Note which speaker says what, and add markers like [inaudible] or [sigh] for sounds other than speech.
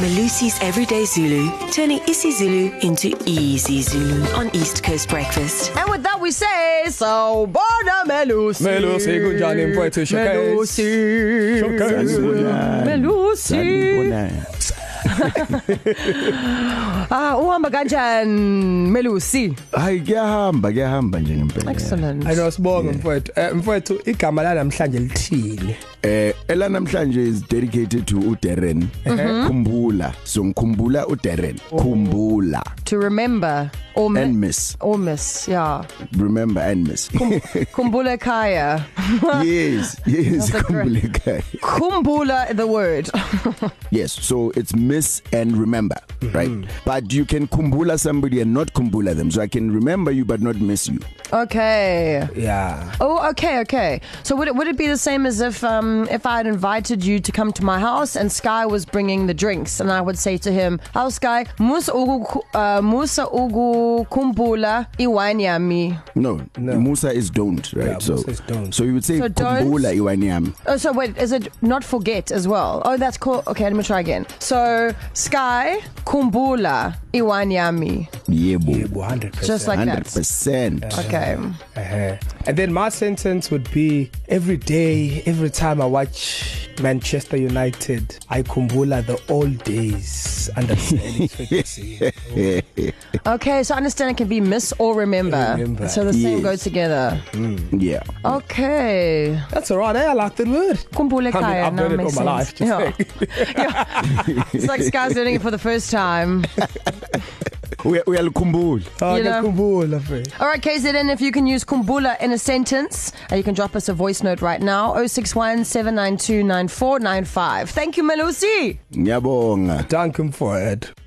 Speaker 1: Malusi's Everyday Zulu, turning isiZulu into easy Zulu on East Coast Breakfast.
Speaker 2: And with that we say, sawubona Melusi.
Speaker 3: Melusi, kunjani mfowethu? Showcase.
Speaker 2: Melusi. Melusi. Ah, uhamba kanjani Melusi?
Speaker 4: hayi kuyahamba kuyahamba nje ngempela
Speaker 2: Excellent.
Speaker 3: I know sibonga mfowethu. Eh mfowethu igama la namhlanje lithini?
Speaker 4: eh elanamhlanje is dedicated to uDerren
Speaker 2: Mhm.
Speaker 4: khumbula songkhumbula uDerren
Speaker 2: Oh.
Speaker 4: khumbula
Speaker 2: To remember or mi-
Speaker 4: and miss
Speaker 2: or miss, yeah.
Speaker 4: remember and miss
Speaker 2: [laughs] Kumbula Kaya.
Speaker 4: [laughs] yes yes
Speaker 2: That's a great-
Speaker 4: khumbula ekhaya.
Speaker 2: Kumbula the word. [laughs]
Speaker 4: yes so it's miss and remember
Speaker 3: Mhm.
Speaker 4: right but you can khumbula somebody and not khumbula them so i can remember you but not miss you
Speaker 2: Okay.
Speaker 3: Yeah.
Speaker 2: Oh, okay, okay. So would it would it be the same as if um if I had invited you to come to my house and Sky was bringing the drinks and I would say to him, "How Sky, musa ugu ku- uh, musa ugu kumbula iwine yami."
Speaker 4: no, no. musa is don't
Speaker 3: Yeah,
Speaker 4: right so
Speaker 3: Musa is don't.
Speaker 4: so you would say
Speaker 2: So don't-
Speaker 4: khumbula iwani yami
Speaker 2: Oh, so wait, is it not forget as well? Oh, that's cool. Okay, let me try again. So Sky kumbula iwine yami,
Speaker 4: yebo
Speaker 3: Yebo 100%.
Speaker 2: just like that.
Speaker 4: 100%
Speaker 2: Okay.
Speaker 3: Uh-huh. And then my sentence would be every day, every time I watch Manchester United, I kumbula the old days under
Speaker 2: [laughs]
Speaker 3: Stanley frequency.
Speaker 2: Okay, so I understand it can be miss or remember.
Speaker 3: Remember.
Speaker 2: So the same
Speaker 4: Yes.
Speaker 2: go together.
Speaker 4: yeah
Speaker 2: Okay.
Speaker 3: That's all right. Eh? I like that word.
Speaker 2: Kumbule
Speaker 3: I mean,
Speaker 2: Kaya.
Speaker 3: I've
Speaker 2: now
Speaker 3: known it
Speaker 2: makes
Speaker 3: all my
Speaker 2: sense.
Speaker 3: life,
Speaker 2: [laughs] yeah. It's like Sky's learning it for the first time.
Speaker 4: Uya- uyalikhumbula
Speaker 3: Oh,
Speaker 2: You know.
Speaker 3: kumbula, fe.
Speaker 2: All right, KZN, if you can use Kumbula in a sentence, uh, you can drop us a voice note right now 061 792 9495. Thank you, Melusi.
Speaker 4: ngiyabonga
Speaker 3: Thank him for it.